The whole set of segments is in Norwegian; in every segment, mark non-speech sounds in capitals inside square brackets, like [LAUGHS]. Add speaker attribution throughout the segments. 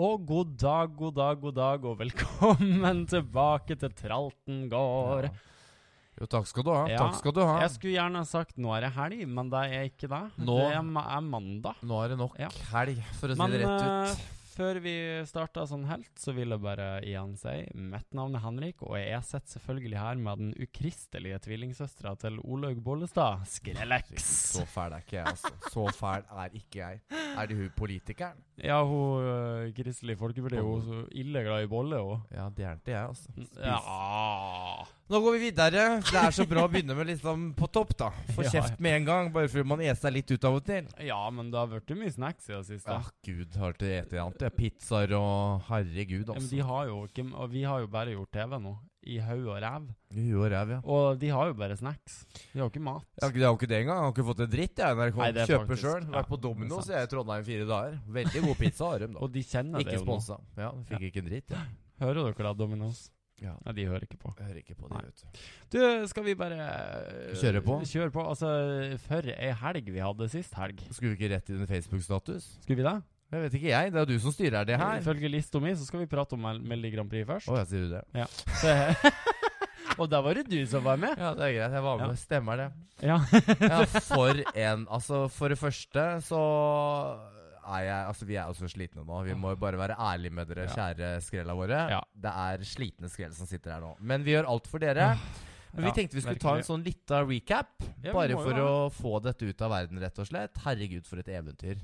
Speaker 1: Og god dag, god dag, god dag, og velkommen [LAUGHS] tilbake til Tralten gård.
Speaker 2: Jo, takk skal du ha.
Speaker 1: Ja,
Speaker 2: Takk skal du ha.
Speaker 1: Jeg skulle gjerne sagt 'nå er det helg', men det er ikke det.
Speaker 2: Nå-
Speaker 1: Det er, ma- er mandag.
Speaker 2: Nå er det nok
Speaker 1: Ja.
Speaker 2: helg, for å si
Speaker 1: Men
Speaker 2: det rett
Speaker 1: eh, før vi starta sånn helt, så vil jeg bare igjen si mitt navn er Henrik, og jeg sitter selvfølgelig her med den ukristelige tvillingsøstera til Olaug Bollestad,
Speaker 2: ut.
Speaker 1: Skrellex.
Speaker 2: Så fæl er ikke jeg, altså. Så fæl er ikke jeg. Er det hun politikeren?
Speaker 1: Ja, hun eh, Kristelig Folkeparti, hun er så ille glad i bolle, hun.
Speaker 2: Ja, det er ikke jeg, altså.
Speaker 1: Mm, Ja.
Speaker 2: Nå går vi videre. Det er så bra å begynne med litt sånn på topp, da. Få
Speaker 1: Ja.
Speaker 2: kjeft med en gang, bare fordi man eser litt ut av og til.
Speaker 1: ja, men det har blitt mye snacks i det siste.
Speaker 2: Åh, gud, har ikke spist annet. Det er pizzaer og herregud,
Speaker 1: Ja, men
Speaker 2: altså.
Speaker 1: de har jo ikke, og vi har jo bare gjort TV nå, i haug og ræv.
Speaker 2: Jo, ræv, ja.
Speaker 1: Og de har jo bare snacks. De har jo ikke mat.
Speaker 2: Jeg har, ikke, jeg har ikke det engang. Jeg har ikke fått en dritt. Jeg NRK
Speaker 1: Nei, det er
Speaker 2: kjøper
Speaker 1: faktisk-
Speaker 2: sjøl.
Speaker 1: ja,
Speaker 2: Vært på
Speaker 1: det er
Speaker 2: Domino's jeg er i Trondheim i fire dager. Veldig god pizza har de, da.
Speaker 1: Og de kjenner
Speaker 2: Ikke
Speaker 1: det jo nå.
Speaker 2: sponsa. Ja, fikk ikke en dritt. Ja.
Speaker 1: Hører dere da, Dominos?
Speaker 2: Ja.
Speaker 1: Nei, de hører ikke på.
Speaker 2: Jeg hører ikke på
Speaker 1: Nei.
Speaker 2: det, vet du.
Speaker 1: Du, skal vi bare eh,
Speaker 2: Kjøre på?
Speaker 1: Kjøre på. Altså, for ei helg vi hadde sist helg.
Speaker 2: Skulle vi ikke rett i din Facebook-status?
Speaker 1: Skulle vi det?
Speaker 2: Jeg vet ikke jeg, det er jo du som styrer det her. Å,
Speaker 1: Ifølge lista mi så skal vi prate om Mel- Melodi Grand Prix først.
Speaker 2: jeg sier du det?
Speaker 1: [LAUGHS] og der var det du som var med!
Speaker 2: Ja, det er greit. Jeg var med. Stemmer det.
Speaker 1: [LAUGHS] Ja.
Speaker 2: Ja, for en Altså, for det første så er jeg Altså, vi er jo så slitne nå. Vi må jo bare være ærlige med dere,
Speaker 1: Ja.
Speaker 2: kjære skrella våre.
Speaker 1: Ja.
Speaker 2: Det er slitne skrell som sitter her nå. Men vi gjør alt for dere. Men
Speaker 1: Ah,
Speaker 2: vi
Speaker 1: Ja,
Speaker 2: tenkte vi skulle ta en sånn lita recap,
Speaker 1: Ja, vi
Speaker 2: bare
Speaker 1: må jo
Speaker 2: for
Speaker 1: det.
Speaker 2: å få dette ut av verden, rett og slett. Herregud, for et eventyr.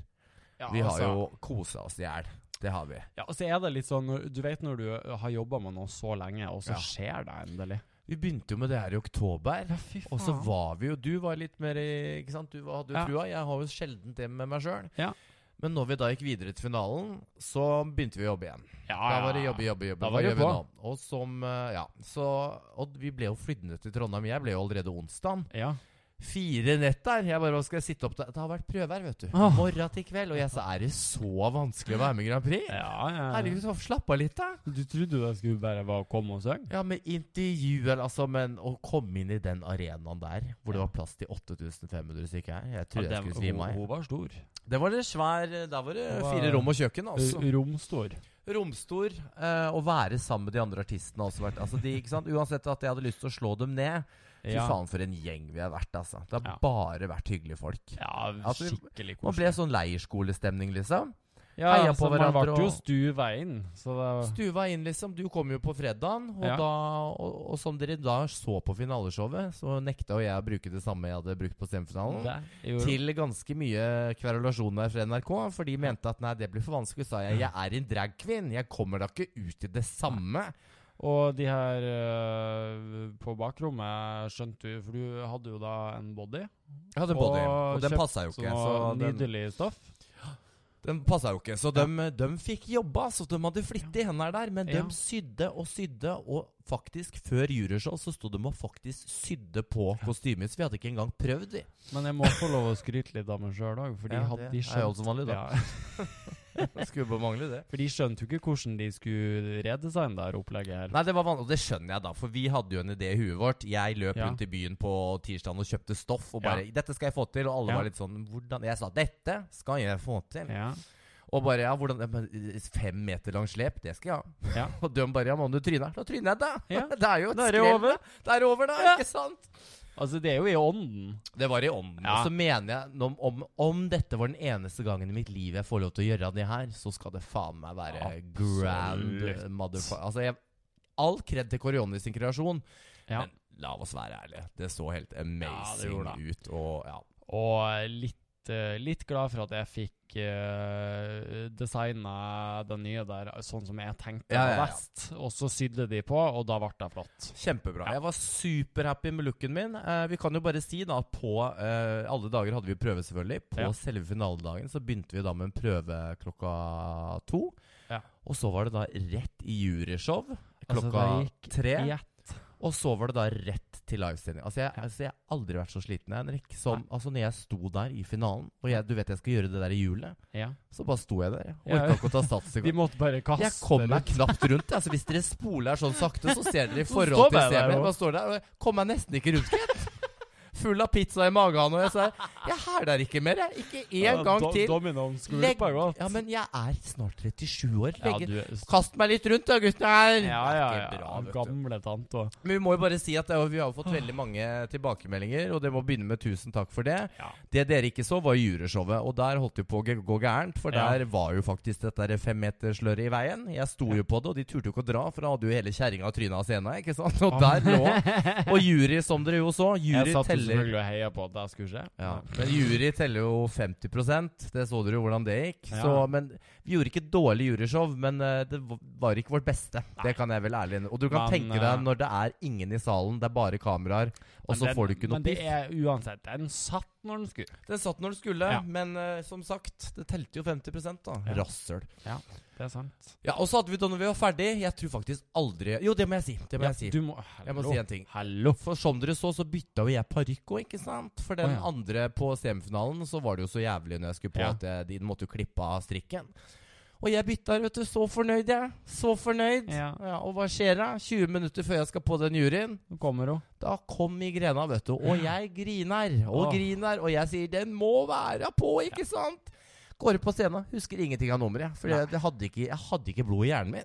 Speaker 1: Ja,
Speaker 2: Vi har
Speaker 1: altså-
Speaker 2: jo kosa oss i hjel. Det har vi.
Speaker 1: Ja, og så er det litt sånn Du vet når du har jobba med noe så lenge, og så
Speaker 2: Ja.
Speaker 1: skjer det endelig.
Speaker 2: Vi begynte jo med det her i oktober.
Speaker 1: fy faen.
Speaker 2: Og så var vi jo Du var litt mer i Ikke sant? Du var- hadde jo
Speaker 1: Ja.
Speaker 2: trua. Jeg har jo sjelden det med meg sjøl.
Speaker 1: Ja.
Speaker 2: Men når vi da gikk videre til finalen, så begynte vi å jobbe igjen. Da var det jobbe, jobbe, jobbe.
Speaker 1: Ah, Da
Speaker 2: Hva
Speaker 1: var det
Speaker 2: gjør vi
Speaker 1: på.
Speaker 2: nå? Og som eh, Ja. Så Og vi ble jo flyttende til Trondheim. Jeg ble jo allerede onsdag.
Speaker 1: Ja.
Speaker 2: Fire nett der. Jeg bare Hva skal jeg sitte opp der? Det har vært prøver, vet du.
Speaker 1: Ah.
Speaker 2: Morgen til kveld. Og jeg sa Er det så vanskelig å være med i Grand Prix?
Speaker 1: Ja, ja.
Speaker 2: Herregud, så slapp av litt, da.
Speaker 1: Du trodde jeg skulle bare være komme og synge?
Speaker 2: Ja, med intervjuer, altså, men å komme inn i den arenaen der, hvor det var plass til 8500 stykker her, jeg trodde jeg skulle svime av.
Speaker 1: Hun var stor.
Speaker 2: jeg. Det var det svær eh, Der var det
Speaker 1: Det var-
Speaker 2: fire rom og kjøkken, altså.
Speaker 1: Romstor.
Speaker 2: Romstor. eh, Å være sammen med de andre artistene har også vært Altså, de, ikke sant? Uansett at jeg hadde lyst til å slå dem ned, fy
Speaker 1: Ja.
Speaker 2: faen for en gjeng vi har vært, altså. Det har
Speaker 1: Ja.
Speaker 2: bare vært hyggelige folk.
Speaker 1: Ja,
Speaker 2: Altså, vi-
Speaker 1: skikkelig
Speaker 2: Man
Speaker 1: koselig.
Speaker 2: ble sånn leirskolestemning, liksom.
Speaker 1: Ja,
Speaker 2: heia
Speaker 1: altså,
Speaker 2: på hverandre
Speaker 1: Man ble jo
Speaker 2: og-
Speaker 1: stuva inn, så det
Speaker 2: Stuva inn, liksom. Du kom jo på fredagen, og,
Speaker 1: Ja.
Speaker 2: da, og, og som dere da så på finaleshowet, så nekta jo jeg å bruke det samme jeg hadde brukt på semifinalen.
Speaker 1: Det gjorde-
Speaker 2: Til ganske mye kverulasjon der fra NRK, for de mente at nei, det blir for vanskelig. Sa jeg jeg er en drag queen, jeg kommer da ikke ut i det samme.
Speaker 1: Og de her øh, på bakrommet skjønte du For du hadde jo da en body.
Speaker 2: Jeg hadde
Speaker 1: Og
Speaker 2: body, og den
Speaker 1: kjøpt
Speaker 2: passa jo
Speaker 1: Så
Speaker 2: ikke. Så den,
Speaker 1: nydelig stoff.
Speaker 2: den passa jo ikke. Så de, fikk jobba, så de hadde flittige hender der. Men de
Speaker 1: Ja.
Speaker 2: sydde og sydde, og faktisk, før juryshow, så sto de og faktisk sydde på kostymet. Så vi hadde ikke engang prøvd, vi.
Speaker 1: Men jeg må få lov å skryte litt av meg sjøl òg, for de
Speaker 2: Ja,
Speaker 1: hadde
Speaker 2: det
Speaker 1: de
Speaker 2: er jo som vanlig, da.
Speaker 1: Ja,
Speaker 2: Skulle bare mangle det.
Speaker 1: for de skjønte jo ikke hvordan de skulle redesigne det her opplegget her.
Speaker 2: Nei, det var vanlig, og det skjønner jeg, da. For vi hadde jo en idé i huet vårt. Jeg løp
Speaker 1: Ja.
Speaker 2: rundt i byen på tirsdagen og kjøpte stoff og bare 'Dette skal jeg få til.' Og alle
Speaker 1: Ja.
Speaker 2: var litt sånn hvordan? Jeg sa 'Dette skal jeg få til'.
Speaker 1: Ja.
Speaker 2: Og bare 'Ja, hvordan ja, men, Fem meter lang slep, det skal jeg ha'.
Speaker 1: Ja.
Speaker 2: [LAUGHS] og de bare 'Ja, mann, du tryna'. Da tryner jeg, [LAUGHS] da.
Speaker 1: Ja.
Speaker 2: det er jo et
Speaker 1: Da er det
Speaker 2: skrell,
Speaker 1: over.
Speaker 2: da. Da er det over, da. Ikke sant?
Speaker 1: Altså, det er jo i ånden.
Speaker 2: Det var i ånden.
Speaker 1: Ja.
Speaker 2: Og så mener jeg om, om, om dette var den eneste gangen i mitt liv jeg får lov til å gjøre det her, så skal det faen meg være
Speaker 1: Absolutt.
Speaker 2: grand motherfucker. Altså, jeg, all kred til Corionis sin kreasjon,
Speaker 1: Ja.
Speaker 2: men la oss være ærlige. Det så helt
Speaker 1: Ja, det
Speaker 2: amazing
Speaker 1: gjorde
Speaker 2: ut. Og ja.
Speaker 1: Og litt, eh, litt glad for at jeg fikk uh, designa det nye der sånn som jeg tenkte
Speaker 2: Ja, ja,
Speaker 1: var
Speaker 2: ja.
Speaker 1: best. Og så sydde de på, og da ble det flott.
Speaker 2: Kjempebra. Jeg var superhappy med looken min. Eh, vi kan jo bare si da at på eh, alle dager hadde vi prøve, selvfølgelig. På
Speaker 1: Ja.
Speaker 2: selve finaledagen så begynte vi da med en prøve klokka to.
Speaker 1: Ja.
Speaker 2: Og så var det da rett i juryshow
Speaker 1: Altså,
Speaker 2: klokka
Speaker 1: det gikk
Speaker 2: tre.
Speaker 1: i
Speaker 2: Og så var det da rett til livesending. Altså, jeg, altså, jeg har aldri vært så sliten, Henrik. Som, altså, når jeg sto der i finalen, og jeg, du vet jeg skal gjøre det der i hjulet,
Speaker 1: Ja.
Speaker 2: så bare sto jeg der. Jeg
Speaker 1: Ja.
Speaker 2: orka ikke å ta
Speaker 1: [LAUGHS]
Speaker 2: sats
Speaker 1: De
Speaker 2: engang.
Speaker 1: måtte bare kaste
Speaker 2: Jeg kom meg
Speaker 1: rundt.
Speaker 2: knapt rundt. Altså, hvis dere spoler her sånn sakte, så ser dere
Speaker 1: [LAUGHS]
Speaker 2: i
Speaker 1: står
Speaker 2: forhold
Speaker 1: jeg
Speaker 2: til
Speaker 1: der
Speaker 2: stemmen.
Speaker 1: og-
Speaker 2: Jeg bare står der og jeg kom meg nesten ikke rundt, gitt. full av pizza i magen. Og jeg sa jeg herder ikke mer, jeg. Ikke én gang til. Legg,
Speaker 1: Dominoen-skvulpa godt.
Speaker 2: ja, men jeg er snart 37 år.
Speaker 1: Ja,
Speaker 2: Legge,
Speaker 1: du,
Speaker 2: Kast meg litt rundt da, gutten
Speaker 1: ja,
Speaker 2: her! Det
Speaker 1: ja,
Speaker 2: er
Speaker 1: ja.
Speaker 2: ikke bra, vet du.
Speaker 1: Gamle tante og
Speaker 2: Men vi må jo bare si at det, er- vi har jo fått veldig mange tilbakemeldinger, og det må begynne med tusen takk for det.
Speaker 1: ja.
Speaker 2: Det dere ikke så, var juryshowet, og der holdt det på å g- gå gærent. For
Speaker 1: Ja.
Speaker 2: der var jo faktisk dette der femmetersløret i veien. Jeg sto jo på det, og de turte jo ikke å dra, for da hadde jo hele kjerringa og tryna av scenen. Ikke sant? Og der lå
Speaker 1: [LAUGHS]
Speaker 2: Og jury, som dere jo så,
Speaker 1: Jeg satt
Speaker 2: jury
Speaker 1: jo selvfølgelig
Speaker 2: teller
Speaker 1: og heia på at det skulle skje.
Speaker 2: ja, Men jury teller jo 50 Det så dere jo hvordan det gikk.
Speaker 1: Ja.
Speaker 2: Så, men vi gjorde ikke et dårlig juryshow, men eh, det v- var ikke vårt beste. Det kan jeg vel ærlig innrømme. Og du kan
Speaker 1: Men,
Speaker 2: tenke
Speaker 1: eh,
Speaker 2: deg når det er ingen i salen, det er bare kameraer, og
Speaker 1: Men
Speaker 2: så
Speaker 1: den-
Speaker 2: får du ikke noe
Speaker 1: Men det
Speaker 2: piff.
Speaker 1: er uansett Den satt når den skulle.
Speaker 2: Den satt når den skulle,
Speaker 1: Ja.
Speaker 2: men eh, som sagt, det telte jo 50 da.
Speaker 1: Ja.
Speaker 2: Rassøl.
Speaker 1: Det er sant.
Speaker 2: Ja, og så hadde vi da når vi var ferdig Jeg tror faktisk aldri Jo, det må jeg si. Det må
Speaker 1: Ja,
Speaker 2: jeg si.
Speaker 1: Du må,
Speaker 2: Jeg må
Speaker 1: Hallo.
Speaker 2: si en ting.
Speaker 1: Hallo.
Speaker 2: For som dere så, så bytta jo jeg parykk òg, ikke sant? For den
Speaker 1: Å, ja.
Speaker 2: andre på semifinalen så var det jo så jævlig når jeg skulle på
Speaker 1: Ja.
Speaker 2: at jeg, de måtte jo klippe av strikken. Og jeg bytta, vet du. Så fornøyd, jeg. Så fornøyd.
Speaker 1: Ja.
Speaker 2: Ja, og hva skjer da? 20 minutter før jeg skal på den juryen,
Speaker 1: Nå kommer hun.
Speaker 2: da kom migrena, vet du. Og jeg griner og
Speaker 1: Åh.
Speaker 2: griner, og jeg sier 'den må være på', ikke sant? Går opp på scenen, husker ingenting av nummeret. For
Speaker 1: Nei.
Speaker 2: jeg jeg hadde, ikke, jeg hadde ikke blod i hjernen min.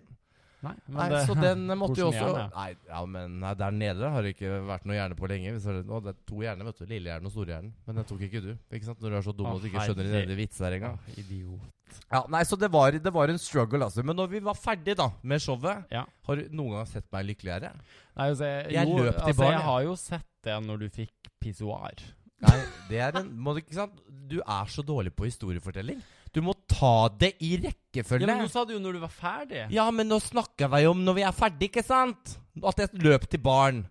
Speaker 1: Nei, men
Speaker 2: Nei,
Speaker 1: det-
Speaker 2: så
Speaker 1: [LAUGHS]
Speaker 2: den måtte jo
Speaker 1: hvordan
Speaker 2: også
Speaker 1: gjerne?
Speaker 2: Nei, ja, men nei, der nede har det ikke vært noe hjerne på lenge. Hvis det, er- å, det er to hjerner, vet du. Lillehjernen og storhjernen. Men den tok ikke du. ikke sant? Når du er så dum
Speaker 1: Å,
Speaker 2: at du ikke skjønner dine
Speaker 1: herre-
Speaker 2: egne vitser her engang.
Speaker 1: Åh, Idiot.
Speaker 2: Ja, nei, så det var, det var en struggle, altså. Men når vi var ferdig da med showet
Speaker 1: Ja.
Speaker 2: Har du noen gang sett meg [LAUGHS] lykkeligere?
Speaker 1: Nei, altså, jeg,
Speaker 2: Jeg
Speaker 1: jo,
Speaker 2: løp til
Speaker 1: altså,
Speaker 2: barn, jeg.
Speaker 1: Jeg har jo sett det når du fikk pissoar.
Speaker 2: Nei, det er en må du, Ikke sant? Du er så dårlig på historiefortelling. Du må ta det i
Speaker 1: Ja,
Speaker 2: rekkefølge.
Speaker 1: men nå sa du jo når du var ferdig.
Speaker 2: Ja, men nå snakker vi om når vi er ferdig, ikke sant? At jeg løp til baren.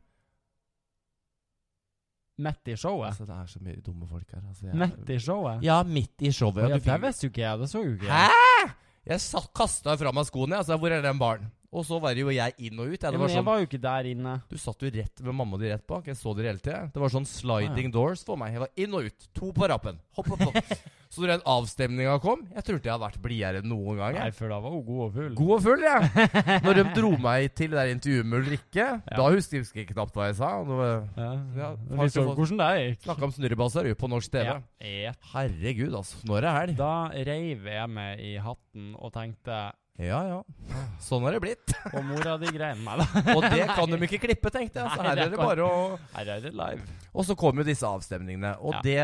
Speaker 1: Midt i showet.
Speaker 2: Altså, det er så mye dumme folk her. Altså,
Speaker 1: Midt i showet.
Speaker 2: Ja, midt i showet.
Speaker 1: Ja,
Speaker 2: og du
Speaker 1: det
Speaker 2: fikk-
Speaker 1: visste jo ikke jeg. Det så jo ikke jeg.
Speaker 2: Hæ?! Jeg satt, kasta fra meg skoene. Jeg sa 'hvor er den baren?' Og så var det jo jeg inn og ut. Jeg,
Speaker 1: Ja,
Speaker 2: det
Speaker 1: men
Speaker 2: var
Speaker 1: jeg
Speaker 2: sånn,
Speaker 1: var jo ikke der inne.
Speaker 2: Du satt jo rett med mamma di rett bak. Jeg så dere hele tida. Det var sånn sliding doors for meg. Jeg var inn og ut. To på rappen. Hopp, hopp,
Speaker 1: [LAUGHS]
Speaker 2: hopp. så når den avstemninga kom Jeg trodde jeg hadde vært blidere enn noen gang. jeg.
Speaker 1: Nei, for da var hun god og full.
Speaker 2: God og full,
Speaker 1: [LAUGHS]
Speaker 2: jeg. Når de dro meg til det der intervjuet med Ulrikke, da husker jeg- husker jeg knapt hva jeg sa. Snakka
Speaker 1: Ja.
Speaker 2: Ja,
Speaker 1: Vi så jo
Speaker 2: faktisk-
Speaker 1: hvordan det gikk.
Speaker 2: om snurrebaser jo, på norsk TV.
Speaker 1: sånn Ja. Ja.
Speaker 2: Herregud, altså. Når er helg?
Speaker 1: Da reiv jeg meg i hatten og tenkte
Speaker 2: Ja, ja. Sånn har
Speaker 1: [LAUGHS]
Speaker 2: det blitt.
Speaker 1: Og mora di greier meg, da.
Speaker 2: Og det kan de ikke klippe, tenkte jeg. Så
Speaker 1: Nei,
Speaker 2: her er
Speaker 1: det
Speaker 2: det
Speaker 1: kan-
Speaker 2: bare å
Speaker 1: Her er det live.
Speaker 2: Og så kom jo disse avstemningene. Og det,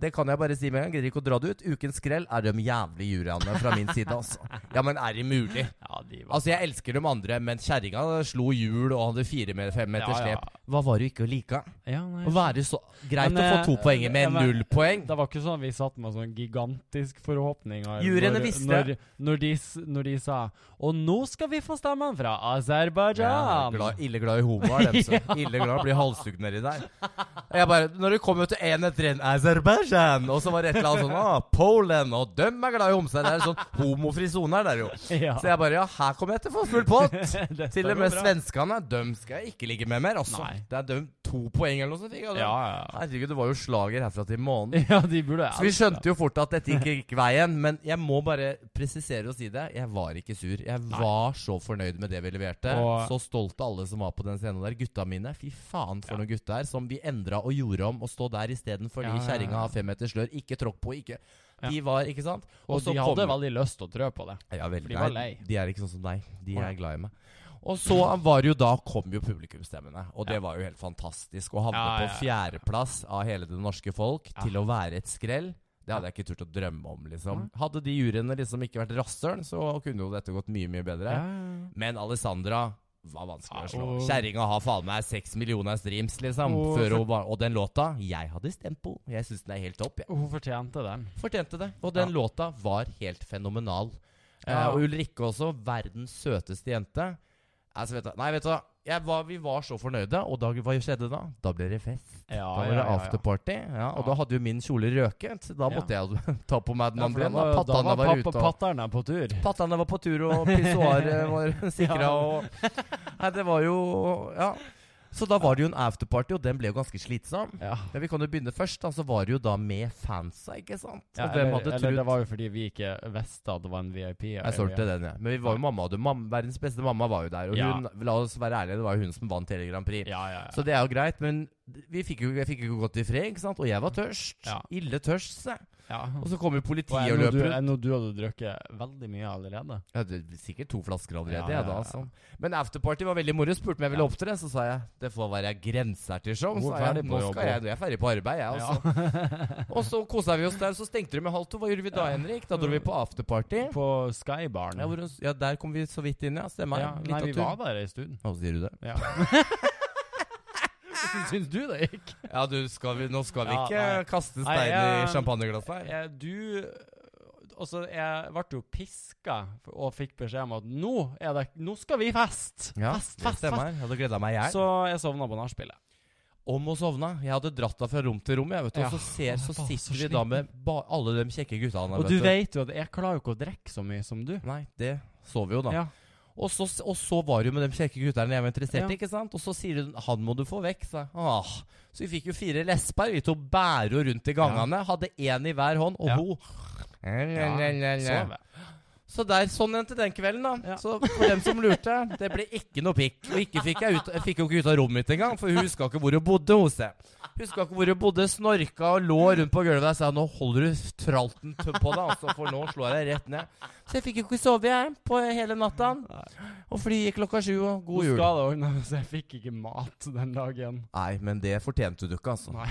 Speaker 2: det kan jeg bare si med en gang. Gidder ikke å dra det ut. Ukens skrell er de jævlige juryene fra min side, altså. Ja, men er det mulig?
Speaker 1: Ja, de var
Speaker 2: Altså, jeg elsker de andre, men kjerringa slo hjul og hadde fire med fem meter
Speaker 1: Ja, ja.
Speaker 2: slep. Hva var det du ikke like?
Speaker 1: ja, nei.
Speaker 2: Å være så Greit
Speaker 1: Men,
Speaker 2: å få to
Speaker 1: eh,
Speaker 2: poenger med
Speaker 1: ja, men-
Speaker 2: null poeng.
Speaker 1: Det var ikke sånn at vi satt med sånn gigantisk forhåpninger
Speaker 2: Juryene
Speaker 1: når,
Speaker 2: visste.
Speaker 1: Når, når, de, s- når de sa Og nå skal vi få stemmene fra
Speaker 2: Ja,
Speaker 1: Aserbajdsjan!
Speaker 2: glad, ille glad i homoer, dem.
Speaker 1: [LAUGHS]
Speaker 2: Så. Ille glad blir halshugd nedi der. Jeg bare, når det kom jo til en etter en Aserbajdsjan, og så var det et eller annet sånn ah, Polen, og dem er glad i homser. Det er sånn homofri sone her, det er jo.
Speaker 1: Ja. [LAUGHS]
Speaker 2: Så jeg bare Ja, her kommer jeg til å få full pott!
Speaker 1: Dette
Speaker 2: Til
Speaker 1: går
Speaker 2: og med
Speaker 1: bra.
Speaker 2: svenskene. Dem skal jeg ikke ligge med mer, altså.
Speaker 1: Nei.
Speaker 2: Det er dømt to poeng eller noe sånt. Ikke?
Speaker 1: Ja,
Speaker 2: sant?
Speaker 1: ja.
Speaker 2: altså. Herregud, det var jo slager herfra til månen.
Speaker 1: ja, de burde
Speaker 2: Så vi skjønte jo fort at dette ikke gikk veien, men jeg må bare presisere og si det. Jeg var ikke sur. Jeg var så fornøyd med det vi leverte.
Speaker 1: Og-
Speaker 2: Så stolt av alle som var på den scenen der. Gutta mine. Fy faen for noen gutter som vi endra og gjorde om og stå der istedenfor
Speaker 1: Ja,
Speaker 2: de
Speaker 1: ja, ja.
Speaker 2: kjerringa har fem meter slør. Ikke tråkk på, ikke
Speaker 1: Ja.
Speaker 2: De var, ikke sant?
Speaker 1: Og
Speaker 2: så
Speaker 1: de
Speaker 2: kom-
Speaker 1: hadde veldig lyst til å trø på det.
Speaker 2: ja, veldig.
Speaker 1: For de var
Speaker 2: Nei,
Speaker 1: lei.
Speaker 2: De er ikke sånn som deg. De
Speaker 1: Å,
Speaker 2: er
Speaker 1: ja.
Speaker 2: glad i meg. Og så var det jo da kom jo publikumsstemmene, og det var jo helt fantastisk. Å havne
Speaker 1: Ja, ja, ja.
Speaker 2: på fjerdeplass av hele det norske folk
Speaker 1: Ja.
Speaker 2: til å være et skrell, det hadde jeg ikke turt å drømme om, liksom. Hadde de juryene liksom ikke vært rasshøl, så kunne jo dette gått mye, mye bedre. Men Alessandra var vanskelig å slå.
Speaker 1: Ja, og-
Speaker 2: Kjerringa har faen meg seks millioner streams, liksom.
Speaker 1: Og-
Speaker 2: før hun var, og den låta Jeg hadde stemt på. Jeg syns den er helt topp, jeg.
Speaker 1: Hun fortjente den.
Speaker 2: Fortjente det. Og den
Speaker 1: Ja.
Speaker 2: låta var helt fenomenal.
Speaker 1: Ja.
Speaker 2: Eh, og Ulrikke også. Verdens søteste jente. Altså, vet du, nei, vet du hva. jeg var, Vi var så fornøyde, og da, hva skjedde da? Da ble det fest.
Speaker 1: Ja,
Speaker 2: Da
Speaker 1: ja,
Speaker 2: var det
Speaker 1: ja, ja.
Speaker 2: afterparty. Ah, Ja, Ah. og
Speaker 1: Ja.
Speaker 2: da hadde jo min kjole røket. Da
Speaker 1: Ja.
Speaker 2: måtte jeg [LAUGHS] ta på meg den
Speaker 1: Ja, for
Speaker 2: andre.
Speaker 1: da
Speaker 2: igjen,
Speaker 1: var,
Speaker 2: da.
Speaker 1: da
Speaker 2: Pattene
Speaker 1: var
Speaker 2: var ute.
Speaker 1: pappa-
Speaker 2: og-
Speaker 1: patterne på tur.
Speaker 2: Pattene var på [LAUGHS] tur, og pissoaret var sikra,
Speaker 1: Ja.
Speaker 2: og Nei, det var jo Ja. Så da var det jo en afterparty, og den ble jo ganske slitsom.
Speaker 1: Ja.
Speaker 2: Men vi kan jo begynne først. da, Så var det jo da med fansa, ikke sant?
Speaker 1: Ja,
Speaker 2: og hvem
Speaker 1: eller,
Speaker 2: hadde
Speaker 1: eller
Speaker 2: trodd
Speaker 1: det var jo fordi vi ikke visste at det var en VIP. og
Speaker 2: Jeg solgte den, jeg. Men vi var jo mamma, og det- mam verdens beste mamma var jo der. Og
Speaker 1: Ja.
Speaker 2: hun, la oss være ærlige, det var jo hun som vant hele Grand Prix.
Speaker 1: Ja, ja, ja.
Speaker 2: Så det er jo greit, men vi fikk jo, jeg fikk jo gått i fred, ikke sant? Og jeg var tørst.
Speaker 1: Ja.
Speaker 2: Ille tørst, se.
Speaker 1: ja.
Speaker 2: Og så kommer
Speaker 1: Og
Speaker 2: politiet
Speaker 1: jeg
Speaker 2: og
Speaker 1: nå du,
Speaker 2: løper ut.
Speaker 1: jeg nå du hadde drukket veldig mye allerede.
Speaker 2: Jeg hadde sikkert to flasker allerede,
Speaker 1: Ja,
Speaker 2: jeg
Speaker 1: ja,
Speaker 2: da.
Speaker 1: ja.
Speaker 2: Altså. Men afterparty var veldig moro. Spurte om jeg ville
Speaker 1: Ja.
Speaker 2: opptre, så sa jeg det får være grenser til show.
Speaker 1: Hvor
Speaker 2: Sa jeg.
Speaker 1: ferdig på
Speaker 2: Nå
Speaker 1: jobb
Speaker 2: skal jeg, nå er jeg ferdig på arbeid, jeg, altså.
Speaker 1: [LAUGHS]
Speaker 2: Og så kosa vi oss der, så stengte de med halv to. Hva gjorde vi da, Henrik? Da dro vi på afterparty.
Speaker 1: På Skybaren.
Speaker 2: Ja, hvor, ja, der kom vi så vidt inn, ja. Stemmer.
Speaker 1: Ja,
Speaker 2: Ja,
Speaker 1: nei, vi var der en stund.
Speaker 2: Hva sier du det?
Speaker 1: [LAUGHS] Ja. Syns du det gikk?
Speaker 2: Ja, du, skal vi, nå skal vi
Speaker 1: Ja,
Speaker 2: ikke
Speaker 1: nei.
Speaker 2: kaste
Speaker 1: Nei,
Speaker 2: stein i
Speaker 1: jeg-
Speaker 2: champagneglasset her.
Speaker 1: Eh, Du Altså, jeg ble jo piska f- og fikk beskjed om at nå er det Nå skal vi fest! fest,
Speaker 2: det
Speaker 1: fest, fest!
Speaker 2: stemmer. Jeg hadde gleda meg i hjel.
Speaker 1: Så jeg sovna på nachspielet.
Speaker 2: Om å sovne. Jeg hadde dratt deg fra rom til rom, jeg, vet du.
Speaker 1: Ja,
Speaker 2: Og så, ser,
Speaker 1: jeg var
Speaker 2: så
Speaker 1: så
Speaker 2: sitter vi
Speaker 1: sliten.
Speaker 2: da med ba alle de kjekke guttene.
Speaker 1: Og du vet jo at jeg klarer jo ikke å drikke så mye som du.
Speaker 2: Nei, det så vi jo, da.
Speaker 1: Ja.
Speaker 2: Og, så, og så var det jo med de kjekke gutterne jeg var interessert
Speaker 1: Ja.
Speaker 2: i, ikke sant? Og så sier hun 'han må du få vekk', sa jeg. Ah. Så vi fikk jo fire lesber. Vi to bærer jo rundt i gangene. Hadde én i hver hånd, og
Speaker 1: Ja.
Speaker 2: hun
Speaker 1: Sov jeg.
Speaker 2: Så der, sånn endte den kvelden, da.
Speaker 1: Ja.
Speaker 2: Så for dem som lurte, det ble ikke noe pikk. Og ikke fikk jeg, ut, jeg fikk jo ikke ut av rommet mitt engang, for hun huska ikke hvor hun bodde hos jeg. Huska ikke hvor hun bodde, snorka og lå rundt på gulvet. Jeg sa nå holder du tralten t- på deg, altså, for nå slår jeg deg rett ned. Så jeg fikk jo ikke sove, jeg, på hele natta. Og flyet klokka sju, og god
Speaker 1: Nå
Speaker 2: jul.
Speaker 1: skal det ordnes, [LAUGHS] så jeg fikk ikke mat den dagen.
Speaker 2: Nei, men det fortjente du ikke, altså.
Speaker 1: Nei.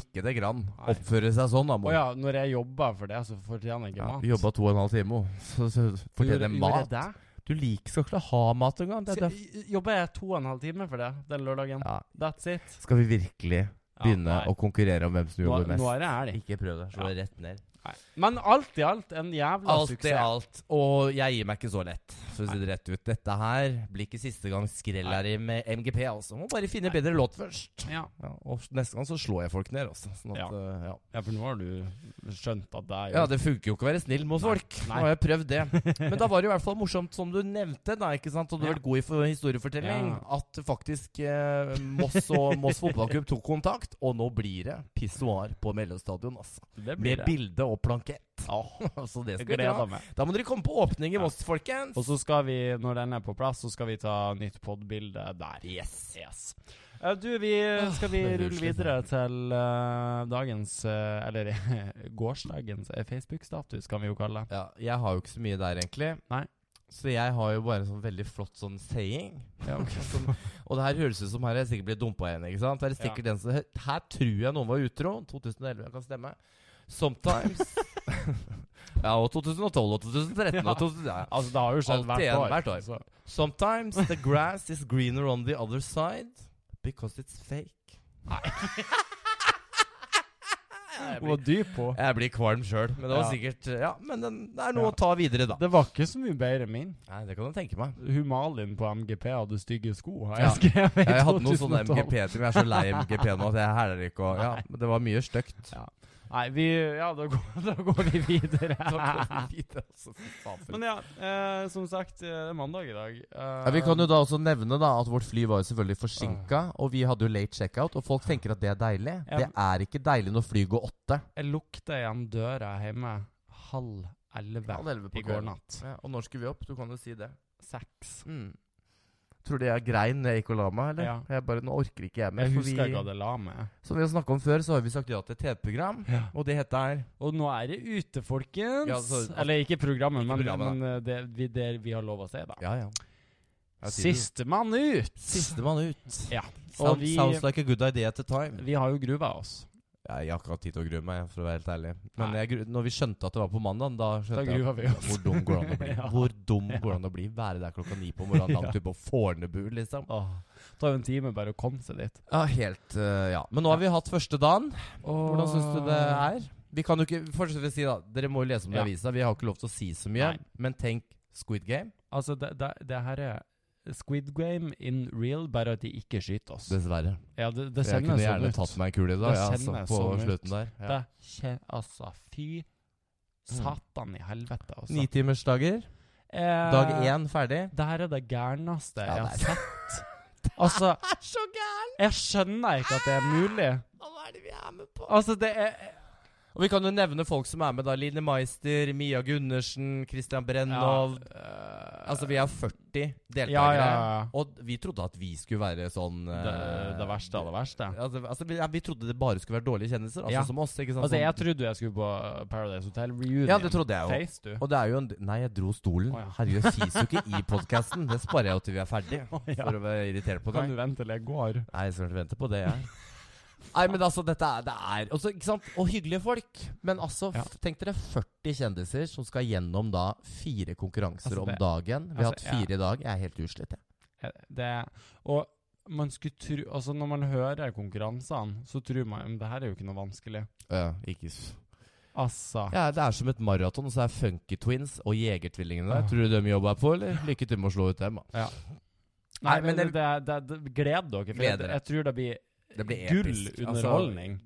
Speaker 2: Ikke det grann.
Speaker 1: Nei.
Speaker 2: Oppføre seg sånn, da,
Speaker 1: Å
Speaker 2: mor.
Speaker 1: ja, når jeg jobber for det, så fortjener jeg ikke
Speaker 2: Ja,
Speaker 1: mat.
Speaker 2: vi jobba to og en halv time, og så, så fortjener jeg
Speaker 1: Gjorde- gjorde jeg
Speaker 2: mat.
Speaker 1: det?
Speaker 2: Du liker skal ikke ha mat engang. Det er derfor.
Speaker 1: Så Jobber jeg to og en halv time for det den lørdagen?
Speaker 2: Ja,
Speaker 1: That's it.
Speaker 2: Skal vi virkelig
Speaker 1: Ja,
Speaker 2: begynne
Speaker 1: nei.
Speaker 2: å konkurrere om hvem som
Speaker 1: nå,
Speaker 2: jobber mest?
Speaker 1: nå er det helg.
Speaker 2: Ikke prøv det. Slå det rett ned.
Speaker 1: Nei. Men alt i alt en jævla
Speaker 2: Alt i
Speaker 1: suksess.
Speaker 2: alt. Og jeg gir meg ikke så lett, for å si det rett ut. Dette her blir ikke siste gang skrell her i med MGP, altså. Må bare finne bedre låt først.
Speaker 1: Ja.
Speaker 2: Ja, og neste gang så slår jeg folk ned, altså. Sånn at,
Speaker 1: Ja.
Speaker 2: eh, ja.
Speaker 1: ja, for nå har du skjønt at det er jo
Speaker 2: ja, det funker jo ikke å være snill mot
Speaker 1: Nei.
Speaker 2: folk. Nå
Speaker 1: Nei.
Speaker 2: har jeg prøvd det.
Speaker 1: [LAUGHS]
Speaker 2: Men da var det jo i hvert fall morsomt, som du nevnte, da, ikke sant? og du har
Speaker 1: Ja.
Speaker 2: vært god i for historiefortelling,
Speaker 1: Ja.
Speaker 2: at faktisk eh, Moss og [LAUGHS] Moss fotballklubb tok kontakt, og nå blir det pissoar på Mellomstadion, altså.
Speaker 1: det blir det.
Speaker 2: Med bilde og plankett.
Speaker 1: Åh,
Speaker 2: [LAUGHS] Så Altså, det
Speaker 1: jeg
Speaker 2: skal vi dra.
Speaker 1: gleder meg.
Speaker 2: Da må dere komme på åpning i Moss, folkens.
Speaker 1: Og så skal vi, når den er på plass, så skal vi ta nytt podbilde der.
Speaker 2: Yes. Ah,
Speaker 1: Yes. Eh, Du, vi skal vi
Speaker 2: det er
Speaker 1: rulle
Speaker 2: uslitt,
Speaker 1: videre til eh, dagens eh, Eller [LAUGHS] gårsdagens eh, Facebook-status, kan vi jo kalle det.
Speaker 2: Ja, jeg har jo ikke så mye der, egentlig.
Speaker 1: Nei.
Speaker 2: Så jeg har jo bare en sånn veldig flott sånn saying.
Speaker 1: Ja,
Speaker 2: Som, og det her høres ut som her er jeg sikkert blitt dumpa igjen. ikke sant? Her, er det sikkert den som, her tror jeg noen var utro. 2011 jeg kan stemme. Sometimes. [LAUGHS] ja, og 2012 og 2013
Speaker 1: Ja.
Speaker 2: og 2000, ja.
Speaker 1: [LAUGHS] Altså, det har jo skjedd
Speaker 2: Alt
Speaker 1: hvert,
Speaker 2: igjen,
Speaker 1: år,
Speaker 2: hvert år.
Speaker 1: så-
Speaker 2: Sometimes the grass is greener on the other side because it's fake. Nei.
Speaker 1: Hun var dyp på.
Speaker 2: Jeg blir kvalm sjøl, men det var
Speaker 1: Ja.
Speaker 2: sikkert Ja, men den, det er noe
Speaker 1: Ja.
Speaker 2: å ta videre, da.
Speaker 1: Det var ikke så mye bedre enn min.
Speaker 2: Nei, det kan du tenke meg.
Speaker 1: Hun Malin på MGP hadde stygge sko, har
Speaker 2: Ja.
Speaker 1: jeg skrevet i 2012.
Speaker 2: [LAUGHS] Jeg hadde sånn noen sånne MGP-ting. Jeg er så lei MGP nå at jeg hæler ikke å Ja, men det var mye stygt.
Speaker 1: Nei, vi, ja, da går, [LAUGHS] da går vi videre. Men
Speaker 2: Ja,
Speaker 1: ja, eh, som sagt, eh, det er mandag i dag. Eh,
Speaker 2: vi kan jo da også nevne da at vårt fly var jo selvfølgelig forsinka, og vi hadde jo late checkout. Og folk tenker at det er deilig.
Speaker 1: Ja.
Speaker 2: Det er ikke deilig når flyet går åtte.
Speaker 1: Eh, Jeg lukta igjen døra hjemme halv elleve
Speaker 2: Halv elleve på
Speaker 1: i går
Speaker 2: kvelden.
Speaker 1: natt.
Speaker 2: Ja, og når skulle vi opp? Du kan jo si det.
Speaker 1: Seks.
Speaker 2: Tror du jeg grein når jeg gikk og la meg, eller?
Speaker 1: Ja.
Speaker 2: Jeg bare, Nå orker ikke jeg mer.
Speaker 1: Jeg
Speaker 2: for
Speaker 1: husker
Speaker 2: vi-
Speaker 1: ikke hva det la meg.
Speaker 2: Som vi har snakket om før, så har vi sagt ja til et TV-program, og det heter
Speaker 1: Og nå er det ute, folkens.
Speaker 2: Ja, så-
Speaker 1: Eller ikke programmet, men,
Speaker 2: programmet,
Speaker 1: men eh, det, vi, det vi har lov å si, da.
Speaker 2: Ja, ja.
Speaker 1: Sistemann ut!
Speaker 2: Sistemann ut.
Speaker 1: Ja.
Speaker 2: Sound,
Speaker 1: Og vi,
Speaker 2: Sounds like a good idea at the time.
Speaker 1: vi har jo gruva oss.
Speaker 2: Jeg har ikke hatt tid til å grue meg, for å være helt ærlig. Men
Speaker 1: Nei.
Speaker 2: jeg, gru- når vi skjønte at det var på mandag, da
Speaker 1: Da
Speaker 2: skjønte jeg
Speaker 1: gruva vi
Speaker 2: at-
Speaker 1: oss.
Speaker 2: hvor dum går det an å
Speaker 1: [LAUGHS]
Speaker 2: bli.
Speaker 1: Ja.
Speaker 2: Hvor dum
Speaker 1: Ja.
Speaker 2: går det an å bli? Være der klokka ni på
Speaker 1: [LAUGHS]
Speaker 2: morgenen, langt
Speaker 1: Ja.
Speaker 2: ute på Fornebu, liksom.
Speaker 1: Åh, det tar jo en time bare å komme seg dit.
Speaker 2: Ja, helt eh, Ja. Men nå har vi hatt første dagen. Hvordan syns du det er? Vi kan jo ikke fortsette å si, da. Dere må jo lese om det i
Speaker 1: Ja.
Speaker 2: avisa. Vi har ikke lov til å si så mye.
Speaker 1: Nei.
Speaker 2: Men tenk Squid Game.
Speaker 1: Altså, det, det, det her er Squid Game in real, bare at de ikke skyter oss.
Speaker 2: Dessverre.
Speaker 1: ja, det, det
Speaker 2: jeg
Speaker 1: sender
Speaker 2: kunne
Speaker 1: sånn
Speaker 2: gjerne
Speaker 1: ut.
Speaker 2: tatt meg en kule i dag,
Speaker 1: Det
Speaker 2: ja, altså,
Speaker 1: sender
Speaker 2: på
Speaker 1: sånn ut.
Speaker 2: slutten der. Ja.
Speaker 1: Det skjer altså Fy satan i helvete, altså.
Speaker 2: Nitimersdager.
Speaker 1: Eh,
Speaker 2: Dag én ferdig.
Speaker 1: Det her er det gærneste
Speaker 2: Ja,
Speaker 1: jeg har
Speaker 2: det [LAUGHS]
Speaker 1: sett. Altså,
Speaker 2: er så gæren!
Speaker 1: Jeg skjønner ikke at det er mulig.
Speaker 2: Hva er det vi er med på?
Speaker 1: Altså, det er
Speaker 2: Og vi kan jo nevne folk som er med, da. Line Meister, Mia Gundersen, Christian Brennov.
Speaker 1: øh,
Speaker 2: Altså, vi er 40 deltakere.
Speaker 1: Ja, ja, ja.
Speaker 2: Og vi trodde at vi skulle være sånn eh,
Speaker 1: det, det verste av det verste.
Speaker 2: Altså, altså vi, ja, vi trodde det bare skulle være dårlige kjendiser. Altså
Speaker 1: Ja.
Speaker 2: som oss, ikke sant?
Speaker 1: Altså,
Speaker 2: Sånn-
Speaker 1: jeg trodde jeg skulle på øh, Paradise Hotel reunion.
Speaker 2: ja, det trodde jeg jo.
Speaker 1: Face, du.
Speaker 2: Og det er jo en Nei, jeg dro stolen.
Speaker 1: Å, ja.
Speaker 2: Herregud, jeg fiser jo ikke i podkasten. Det sparer jeg jo til vi er ferdig,
Speaker 1: [LAUGHS]
Speaker 2: for å være irritert på deg.
Speaker 1: Kan du vente til jeg går?
Speaker 2: Nei, jeg skal ikke vente på det, jeg. Nei, men altså, dette er, det er også, ikke sant? Og hyggelige folk. Men altså, f-
Speaker 1: Ja.
Speaker 2: tenk dere 40 kjendiser som skal gjennom da fire konkurranser
Speaker 1: Altså, det-
Speaker 2: om dagen. Vi har
Speaker 1: altså,
Speaker 2: hatt fire i dag. Jeg er helt utslitt, jeg.
Speaker 1: Eh, Det Og man skulle tro Altså, når man hører konkurransene, så tror man Men det her er jo ikke noe vanskelig.
Speaker 2: Øh, ikke s-
Speaker 1: Altså.
Speaker 2: ja, det er som et maraton, og så er Funky Twins og Jegertvillingene der.
Speaker 1: Åh.
Speaker 2: Tror du de jobber på, eller? Lykke til med å slå ut dem, da.
Speaker 1: Nei,
Speaker 2: Nei, men
Speaker 1: men det, det, det, det Gled dere. For
Speaker 2: Gled
Speaker 1: jeg,
Speaker 2: dere.
Speaker 1: jeg tror det blir
Speaker 2: Det blir
Speaker 1: gull
Speaker 2: episk. Altså,
Speaker 1: underholdning.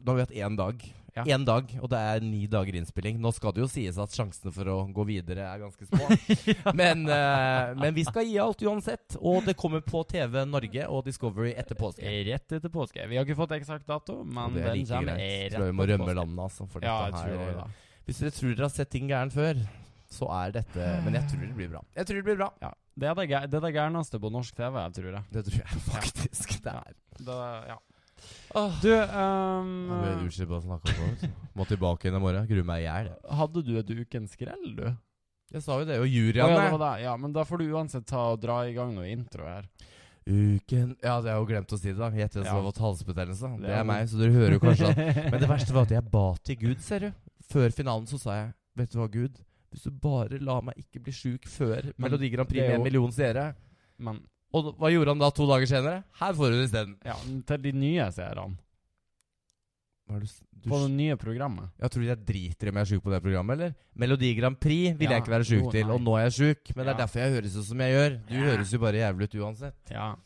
Speaker 2: Nå har vi hatt én dag.
Speaker 1: Ja.
Speaker 2: Én dag, og det er ni dager innspilling. Nå skal det jo sies at sjansene for å gå videre er ganske
Speaker 1: [LAUGHS]
Speaker 2: små. men, eh, men vi skal gi alt uansett. Og det kommer på TV Norge og Discovery etter påske.
Speaker 1: Rett etter påske. Vi har ikke fått eksakt dato, men
Speaker 2: Og det er
Speaker 1: den
Speaker 2: like
Speaker 1: kommer
Speaker 2: greit.
Speaker 1: rett
Speaker 2: Jeg tror vi må
Speaker 1: etter
Speaker 2: rømme
Speaker 1: påske.
Speaker 2: landet, altså. For
Speaker 1: Ja, jeg
Speaker 2: dette
Speaker 1: tror
Speaker 2: her,
Speaker 1: det. da.
Speaker 2: Hvis dere tror dere har sett ting gæren før, så er
Speaker 1: [SIGHS]
Speaker 2: dette Men jeg tror det blir bra. Jeg tror det blir bra.
Speaker 1: Ja. Det er det, gæ- det er det gærneste på norsk TV, jeg tror jeg.
Speaker 2: Det tror jeg faktisk det er.
Speaker 1: Det, ja.
Speaker 2: Åh.
Speaker 1: Du, ehm,
Speaker 2: Jeg ble utslitt på å snakke om det. altså. Må tilbake igjen i morgen. Gruer meg i hjel. jeg.
Speaker 1: hadde du et Ukens skrell, du?
Speaker 2: Jeg sa jo det. Og
Speaker 1: Ja,
Speaker 2: juryen
Speaker 1: ja, det var det. ja, men da får du uansett ta og dra i gang noe intro her.
Speaker 2: Uken Ja, jeg har jo glemt å si det, da. Gjett hvem som
Speaker 1: Ja.
Speaker 2: har fått halsbetennelse.
Speaker 1: Det
Speaker 2: Det
Speaker 1: er
Speaker 2: er meg, så dere hører jo
Speaker 1: [LAUGHS]
Speaker 2: kanskje at Men det verste var at jeg ba til Gud, ser du. Før finalen så sa jeg Vet du hva, Gud? Hvis du bare la meg ikke bli sjuk før
Speaker 1: Men
Speaker 2: Melodi Grand Prix
Speaker 1: det er
Speaker 2: med en
Speaker 1: jo-
Speaker 2: million seere
Speaker 1: Men
Speaker 2: Og hva gjorde han da to dager senere? Her får du det isteden.
Speaker 1: ja, til de nye seerne.
Speaker 2: Hva er det s- du
Speaker 1: På
Speaker 2: s-
Speaker 1: det nye programmet.
Speaker 2: Jeg tror jeg driter i om jeg er sjuk på det programmet, eller? Melodi Grand Prix ville
Speaker 1: Ja.
Speaker 2: jeg ikke være sjuk
Speaker 1: Å,
Speaker 2: til,
Speaker 1: nei.
Speaker 2: og nå er jeg sjuk. Men det er
Speaker 1: Ja.
Speaker 2: derfor jeg høres ut som jeg gjør. Du
Speaker 1: Ja.
Speaker 2: høres jo bare jævlig ut
Speaker 1: [LAUGHS]
Speaker 2: uansett.
Speaker 1: Ja.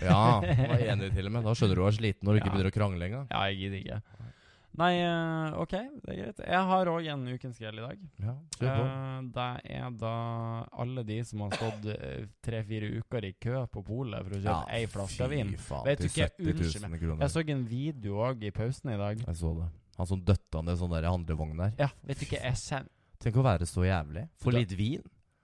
Speaker 2: Ja, nå er jeg enig til og med. Da skjønner du du er sliten når du ikke
Speaker 1: Ja.
Speaker 2: begynner å krangle engang.
Speaker 1: Ja, jeg gidder ikke. Nei, eh, OK, det er greit. Jeg har òg en ukens grell i dag.
Speaker 2: Ja, kjør på.
Speaker 1: Eh, det er da alle de som har stått eh, tre-fire uker i kø på polet for å kjøpe ei flaske vin. Vet du ikke, unnskyld meg. Jeg så en video òg i pausen i dag.
Speaker 2: Jeg så det. Han som døtta ned sånn der handlevogn der.
Speaker 1: Ja, vet du ikke, jeg kjenner
Speaker 2: Tenk å være så jævlig. Få
Speaker 1: Da-
Speaker 2: litt vin.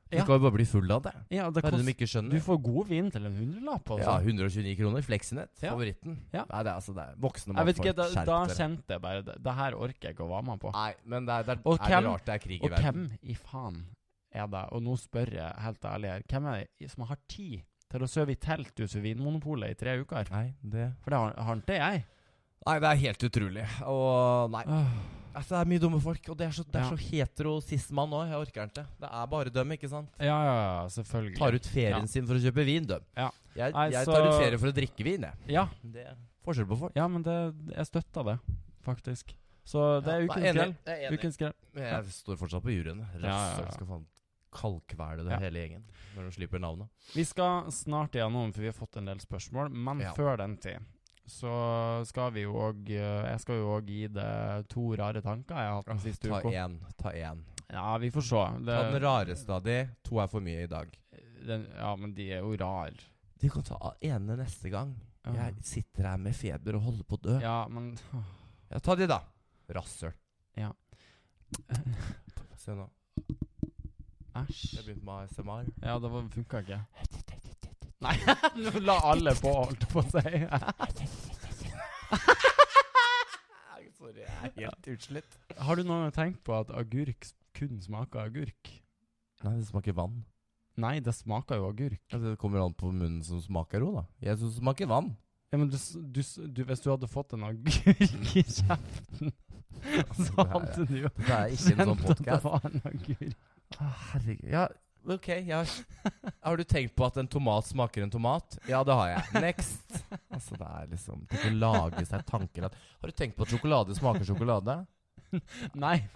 Speaker 2: Du
Speaker 1: Ja.
Speaker 2: skal jo bare bli full av det.
Speaker 1: ja, det
Speaker 2: Det er det de
Speaker 1: kost,
Speaker 2: ikke
Speaker 1: Du
Speaker 2: skjønner.
Speaker 1: får god vin til en hundrelapp,
Speaker 2: Ja,
Speaker 1: altså.
Speaker 2: 129 kroner. Flexinet.
Speaker 1: Ja.
Speaker 2: Favoritten.
Speaker 1: Ja.
Speaker 2: Nei, det er altså det er voksne
Speaker 1: jeg vet
Speaker 2: mannfolk.
Speaker 1: ikke, da,
Speaker 2: Skjerp
Speaker 1: da
Speaker 2: dere.
Speaker 1: kjente jeg bare det, det her orker jeg ikke å være med på.
Speaker 2: Nei, men det er, det er,
Speaker 1: Og
Speaker 2: er
Speaker 1: hvem-
Speaker 2: det rart det er krig i
Speaker 1: Og
Speaker 2: verden.
Speaker 1: hvem i faen er det, og nå spør jeg helt ærlig her, hvem er det som har tid til å søve i telt utenfor Vinmonopolet i tre uker?
Speaker 2: Nei, det
Speaker 1: For det har, har ikke jeg.
Speaker 2: Nei, det er helt utrolig. Og nei.
Speaker 1: Åh.
Speaker 2: Altså, det er mye dumme folk. Og det er så, det er
Speaker 1: Ja.
Speaker 2: så hetero sismann òg. Jeg orker ikke. Det er bare dem, ikke sant?
Speaker 1: Ja, ja, ja, selvfølgelig.
Speaker 2: Tar ut ferien
Speaker 1: Ja.
Speaker 2: sin for å kjøpe vin, dem.
Speaker 1: Ja.
Speaker 2: Jeg,
Speaker 1: Nei,
Speaker 2: jeg
Speaker 1: så-
Speaker 2: tar ut ferie for å drikke vin, jeg.
Speaker 1: Ja,
Speaker 2: Det er forskjell på folk.
Speaker 1: ja men det, jeg støtta det, faktisk. Så det er
Speaker 2: Ja,
Speaker 1: ukens
Speaker 2: jeg
Speaker 1: grell.
Speaker 2: Jeg er enig.
Speaker 1: Ukens grell.
Speaker 2: Men jeg står fortsatt på juryen. Rasshøl
Speaker 1: ja, ja.
Speaker 2: skal faen kalkvele det
Speaker 1: Ja.
Speaker 2: hele gjengen når de slipper navnet.
Speaker 1: Vi skal snart igjennom, for vi har fått en del spørsmål. Men
Speaker 2: Ja.
Speaker 1: før den tid så skal vi jo òg Jeg skal jo òg gi det to rare tanker jeg har hatt den siste
Speaker 2: Ta
Speaker 1: uka.
Speaker 2: én, ta én.
Speaker 1: Ja, vi får se.
Speaker 2: Ta den
Speaker 1: Det,
Speaker 2: rareste av de. To er for mye i dag.
Speaker 1: den, ja, men de er jo rar
Speaker 2: De kan ta ene neste gang.
Speaker 1: Ja,
Speaker 2: Jeg sitter her med feber og holder på å dø. Ja.
Speaker 1: ja men
Speaker 2: ta de, da. Rasshøl.
Speaker 1: Ja.
Speaker 2: Se nå. Jeg
Speaker 1: Æsj.
Speaker 2: begynte med ASMR.
Speaker 1: Ja, det var- funka ikke.
Speaker 2: [LAUGHS]
Speaker 1: Nei, [LAUGHS] nå la alle på, holdt jeg på å si.
Speaker 2: [LAUGHS]
Speaker 1: [LAUGHS]
Speaker 2: Sorry, jeg er helt utslitt.
Speaker 1: Har du noen gang tenkt på at agurk s- kun smaker agurk?
Speaker 2: Nei, det smaker vann.
Speaker 1: Nei, det smaker jo agurk.
Speaker 2: Altså, det kommer an på munnen som smaker òg, da. Jeg syns det smaker [LAUGHS] vann.
Speaker 1: Ja, men du, s- du, s- du, hvis du hadde fått en agurk [LAUGHS] i kjeften, så
Speaker 2: Altså, det her er-
Speaker 1: hadde du jo
Speaker 2: Det er ikke [LAUGHS] en sånn
Speaker 1: at det
Speaker 2: podcast
Speaker 1: var en agurk.
Speaker 2: Å, Herregud Ja, ok jeg har, [LAUGHS] har du tenkt på at en tomat smaker en tomat? Ja, det har jeg [LAUGHS] Next Altså, det er liksom Tenk å lage seg tanker at Har du tenkt på at sjokolade smaker sjokolade?
Speaker 1: Nei.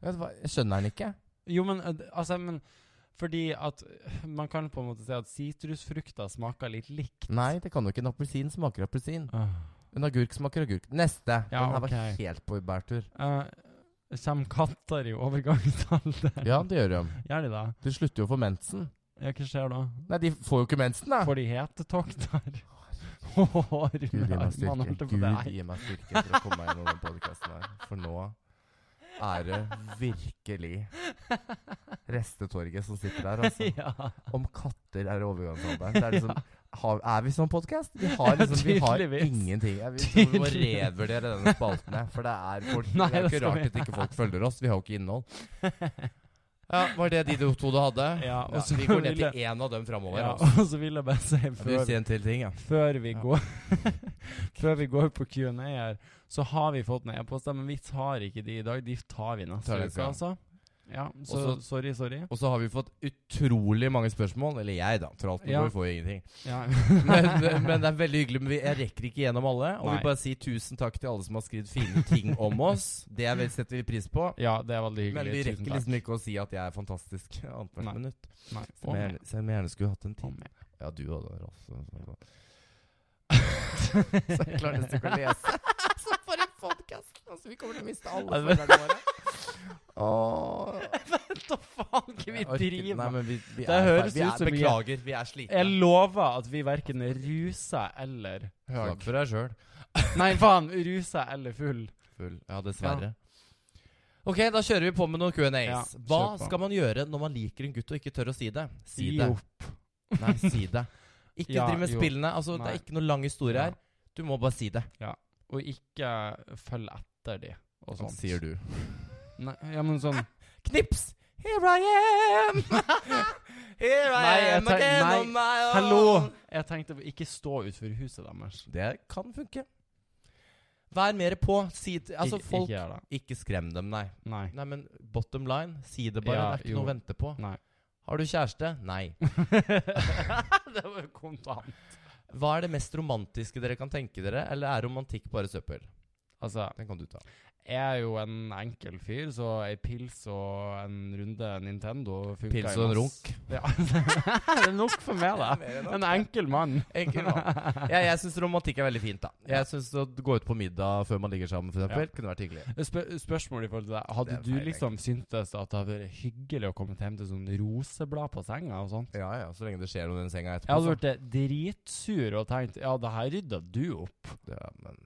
Speaker 2: Vet du hva, jeg skjønner den ikke
Speaker 1: Jo, men eh, d- altså men, Fordi at eh, man kan på en måte si at sitrusfrukter smaker litt likt.
Speaker 2: Nei, det kan jo ikke En appelsin smaker appelsin
Speaker 1: Uh,
Speaker 2: En agurk smaker agurk Neste
Speaker 1: Ja,
Speaker 2: Den her var
Speaker 1: ok.
Speaker 2: helt på bærtur
Speaker 1: Kommer Eh, katter i overgangsalder?
Speaker 2: Ja, det gjør de
Speaker 1: Gjør de det?
Speaker 2: De slutter jo for mensen
Speaker 1: Ja, hva skjer da?
Speaker 2: Nei, de får jo ikke mensen, da.
Speaker 1: Får de hetetokt der? Åh,
Speaker 2: Gud gi
Speaker 1: Rune
Speaker 2: meg
Speaker 1: Hagman
Speaker 2: styrke.
Speaker 1: holdt på
Speaker 2: Gud
Speaker 1: det.
Speaker 2: gi meg styrke til å komme meg gjennom den podkasten her. For nå er det virkelig restetorget som sitter der, [LAUGHS] altså.
Speaker 1: [LAUGHS] Ja.
Speaker 2: Om katter er i overgangsalderen. Det er
Speaker 1: [LAUGHS]
Speaker 2: liksom har, Er vi sånn podkast? Vi har liksom Vi har
Speaker 1: Tydeligvis.
Speaker 2: ingenting. Jeg vil- jeg tror vi må
Speaker 1: Tydeligvis.
Speaker 2: revurdere denne spalten her. For det er folk
Speaker 1: Nei,
Speaker 2: Det er jo
Speaker 1: det
Speaker 2: ikke
Speaker 1: skal
Speaker 2: rart
Speaker 1: vi-
Speaker 2: at ikke folk følger oss. Vi har jo ikke innhold.
Speaker 1: [LAUGHS]
Speaker 2: Ja, Var det de to du hadde?
Speaker 1: Ja, og så
Speaker 2: vi går ned
Speaker 1: vil
Speaker 2: til én av dem framover.
Speaker 1: Ja, [LAUGHS]
Speaker 2: altså.
Speaker 1: og så vil jeg bare si
Speaker 2: Jeg vil
Speaker 1: før,
Speaker 2: si en til ting, ja.
Speaker 1: før vi
Speaker 2: Ja.
Speaker 1: går [LAUGHS] Før vi går på Q&A her, så har vi fått noen e-poster, men vi tar ikke de i dag. De tar vi neste
Speaker 2: Tar det,
Speaker 1: uke,
Speaker 2: ja.
Speaker 1: altså. Ja, så
Speaker 2: Og så-
Speaker 1: sorry, sorry.
Speaker 2: Og så har vi fått utrolig mange spørsmål. Eller jeg, da. For alt mulig
Speaker 1: Ja.
Speaker 2: vi får jo ingenting.
Speaker 1: Ja.
Speaker 2: [LAUGHS] Men, men det er veldig hyggelig. Men vi, jeg rekker ikke gjennom alle. Og
Speaker 1: Nei.
Speaker 2: vi bare sier tusen takk til alle som har skrevet fine ting om oss. Det er vel- setter vi pris på.
Speaker 1: [LAUGHS] ja, det er veldig hyggelig.
Speaker 2: Men vi
Speaker 1: Tusen
Speaker 2: rekker
Speaker 1: takk.
Speaker 2: liksom ikke å si at jeg er fantastisk annethvert
Speaker 1: Nei.
Speaker 2: minutt.
Speaker 1: Nei,
Speaker 2: Selv om
Speaker 1: og
Speaker 2: jeg
Speaker 1: med,
Speaker 2: gjerne- selv om jeg gjerne skulle hatt en
Speaker 1: og
Speaker 2: time.
Speaker 1: med.
Speaker 2: Ja, du og det, Rolf. Så, så- [LAUGHS] så jeg klarer nesten ikke å lese. [LAUGHS] Så for en podkast! Altså, vi kommer til å miste alle
Speaker 1: Ja, men- [LAUGHS]
Speaker 2: følgerne våre. [LAUGHS] Åh.
Speaker 1: Da faen ikke vi
Speaker 2: Jeg orker-
Speaker 1: driver
Speaker 2: Nei,
Speaker 1: med!
Speaker 2: men vi, vi
Speaker 1: Det
Speaker 2: er,
Speaker 1: høres
Speaker 2: vi er,
Speaker 1: ut som vi er-
Speaker 2: Beklager, vi er
Speaker 1: Jeg
Speaker 2: slitne.
Speaker 1: lover at vi verken er rusa eller
Speaker 2: Snakk for deg sjøl.
Speaker 1: Nei, faen! Rusa eller full.
Speaker 2: Full. Ja, dessverre. Ok, da kjører vi på med noen Q&As.
Speaker 1: Ja,
Speaker 2: Hva
Speaker 1: kjør på.
Speaker 2: skal man gjøre når man liker en gutt og ikke tør å si det? Si
Speaker 1: Gi
Speaker 2: det.
Speaker 1: opp.
Speaker 2: Nei, si
Speaker 1: [LAUGHS]
Speaker 2: det. Ikke
Speaker 1: Ja,
Speaker 2: driv med
Speaker 1: jo.
Speaker 2: spillene. Altså, Det
Speaker 1: Nei.
Speaker 2: er ikke noe lang historie
Speaker 1: Ja.
Speaker 2: her. Du må bare si det.
Speaker 1: Og ikke følg etter de og sånt.
Speaker 2: du.
Speaker 1: Nei, ja, men sånn
Speaker 2: Knips! Here
Speaker 1: [LAUGHS]
Speaker 2: I am! Here I
Speaker 1: Nei, jeg
Speaker 2: am
Speaker 1: tar-
Speaker 2: again
Speaker 1: nei.
Speaker 2: on my own.
Speaker 1: Hallo! Jeg tenkte ikke stå utenfor huset deres.
Speaker 2: Det kan funke. Vær mer på. Si t- Altså,
Speaker 1: Ik-
Speaker 2: folk
Speaker 1: Ikke gjør det.
Speaker 2: Ikke skrem dem, nei.
Speaker 1: Nei.
Speaker 2: [LAUGHS] Nei, men bottom line, si det bare.
Speaker 1: Ja,
Speaker 2: det er ikke
Speaker 1: jo.
Speaker 2: noe å vente på.
Speaker 1: Nei.
Speaker 2: Har du kjæreste? Nei.
Speaker 1: det var jo kontant.
Speaker 2: Hva er det mest romantiske dere kan tenke dere, eller er romantikk bare søppel?
Speaker 1: Altså,
Speaker 2: Den kan du ta.
Speaker 1: jeg er jo en enkel fyr, så ei pils og en runde Nintendo funker
Speaker 2: Pils og en
Speaker 1: [LAUGHS] Ja, det er nok for meg,
Speaker 2: Det
Speaker 1: da.
Speaker 2: er mer enn nok.
Speaker 1: En enkel mann.
Speaker 2: Enkel mann. Jeg, jeg syns romantikk er veldig fint, da. Jeg synes å gå ut på middag før man ligger sammen, for eksempel, kunne vært hyggelig.
Speaker 1: Spør spørsmål i forhold til deg.
Speaker 2: Det
Speaker 1: Hadde
Speaker 2: er
Speaker 1: du
Speaker 2: feil,
Speaker 1: liksom syntes at det hadde vært hyggelig å komme hjem til sånn roseblad på senga og sånn?
Speaker 2: Ja, ja, så lenge det skjer noe i den senga
Speaker 1: Jeg
Speaker 2: etterpå.
Speaker 1: hadde vært eh, dritsur og tenkt ja, det her rydda du opp.
Speaker 2: så. Ja, men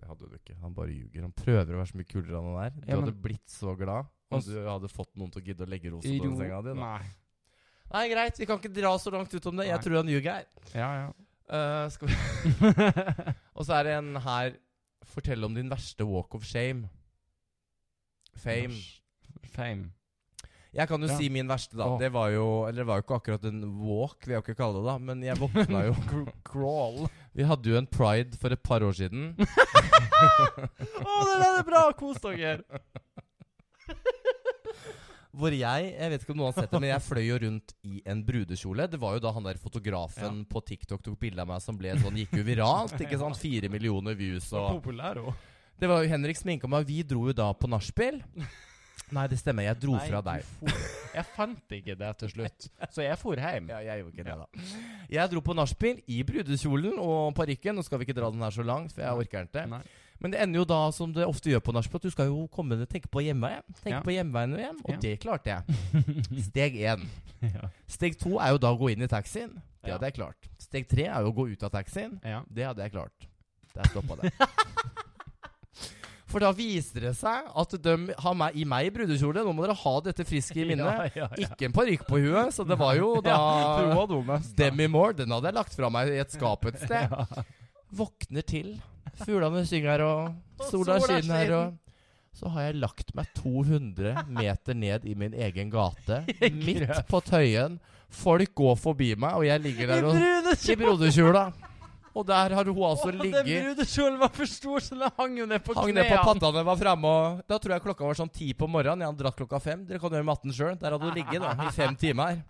Speaker 2: det hadde du ikke. Han bare ljuger. Han prøver å være så mye kulere enn han er. Du
Speaker 1: Ja, men-
Speaker 2: hadde blitt så glad
Speaker 1: Og
Speaker 2: om
Speaker 1: s-
Speaker 2: du hadde fått noen til å gidde å legge rosa på
Speaker 1: Ro-
Speaker 2: den senga di. Da.
Speaker 1: Nei.
Speaker 2: Nei, greit, vi kan ikke dra så langt ut om det. Jeg
Speaker 1: Nei.
Speaker 2: tror han ljuger her.
Speaker 1: Ja, ja.
Speaker 2: Eh,
Speaker 1: [LAUGHS]
Speaker 2: skal vi... Og så er det en her Fortell om din verste walk of shame. Fame.
Speaker 1: Fame.
Speaker 2: Jeg kan jo
Speaker 1: Ja.
Speaker 2: si min verste, da.
Speaker 1: Åh.
Speaker 2: Det var jo Eller det var jo ikke akkurat en walk, vil jeg jo ikke kalle det, da. Men jeg våkna [LAUGHS]
Speaker 1: [LAUGHS]
Speaker 2: jo
Speaker 1: Crawl.
Speaker 2: Vi hadde jo en pride for et par år siden.
Speaker 1: [LAUGHS] Å, den er bra! Kos
Speaker 2: [LAUGHS]
Speaker 1: dere.
Speaker 2: Hvor jeg Jeg vet ikke om noen har sett det, men jeg fløy jo rundt i en brudekjole. Det var jo da han der fotografen på TikTok tok bilde av meg som ble sånn Gikk jo viralt, ikke sant? Fire millioner views og
Speaker 1: Populær òg.
Speaker 2: Det var jo Henrik sminka meg, vi dro jo da på nachspiel. Nei, det stemmer, jeg dro fra deg.
Speaker 1: Jeg fant ikke det til slutt, så jeg for hjem.
Speaker 2: Ja, jeg gjorde ikke det, da. Jeg dro på nachspiel i brudekjolen og parykken. Nå skal vi ikke dra den her så langt, for jeg orker den
Speaker 1: Nei.
Speaker 2: ikke. Men det ender jo da, som det ofte gjør på nachspiel, at du skal jo komme og tenke på hjemveien. Tenke
Speaker 1: Ja.
Speaker 2: på hjemveien og hjem, og
Speaker 1: Ja.
Speaker 2: det klarte
Speaker 1: [LAUGHS]
Speaker 2: jeg. Steg én.
Speaker 1: Ja.
Speaker 2: Steg to er jo da å gå inn i taxien. Det
Speaker 1: Ja.
Speaker 2: hadde jeg klart. Steg tre er jo å gå ut av taxien.
Speaker 1: ja.
Speaker 2: Det hadde jeg klart. Der
Speaker 1: [LAUGHS]
Speaker 2: stoppa det. For da viser det seg at de har meg i meg i brudekjole. Nå må dere ha dette friske i minnet.
Speaker 1: [LAUGHS] Ja, ja, ja.
Speaker 2: Ikke en parykk på huet, så det var jo
Speaker 1: [LAUGHS]
Speaker 2: da
Speaker 1: Ja, for hun var dummest, da.
Speaker 2: Demi Moore. Den hadde jeg lagt fra meg i et skap et
Speaker 1: [LAUGHS]
Speaker 2: sted. Våkner til. Fuglene synger, og
Speaker 1: Og
Speaker 2: sola
Speaker 1: sola
Speaker 2: skinner, og så har jeg lagt meg 200 meter ned i min egen
Speaker 1: [LAUGHS]
Speaker 2: gate, midt på Tøyen. Folk går forbi meg, og jeg ligger der og i brodekjula. Og der har hun altså
Speaker 1: Den
Speaker 2: ligget
Speaker 1: brudekjolen var for stor, så den hang jo ned på
Speaker 2: Hang ned på paddene var fremme og Da tror jeg klokka var sånn ti på morgenen. Jeg hadde dratt klokka fem. Dere kan gjøre matten sjøl. Der hadde hun ligget da, i fem timer.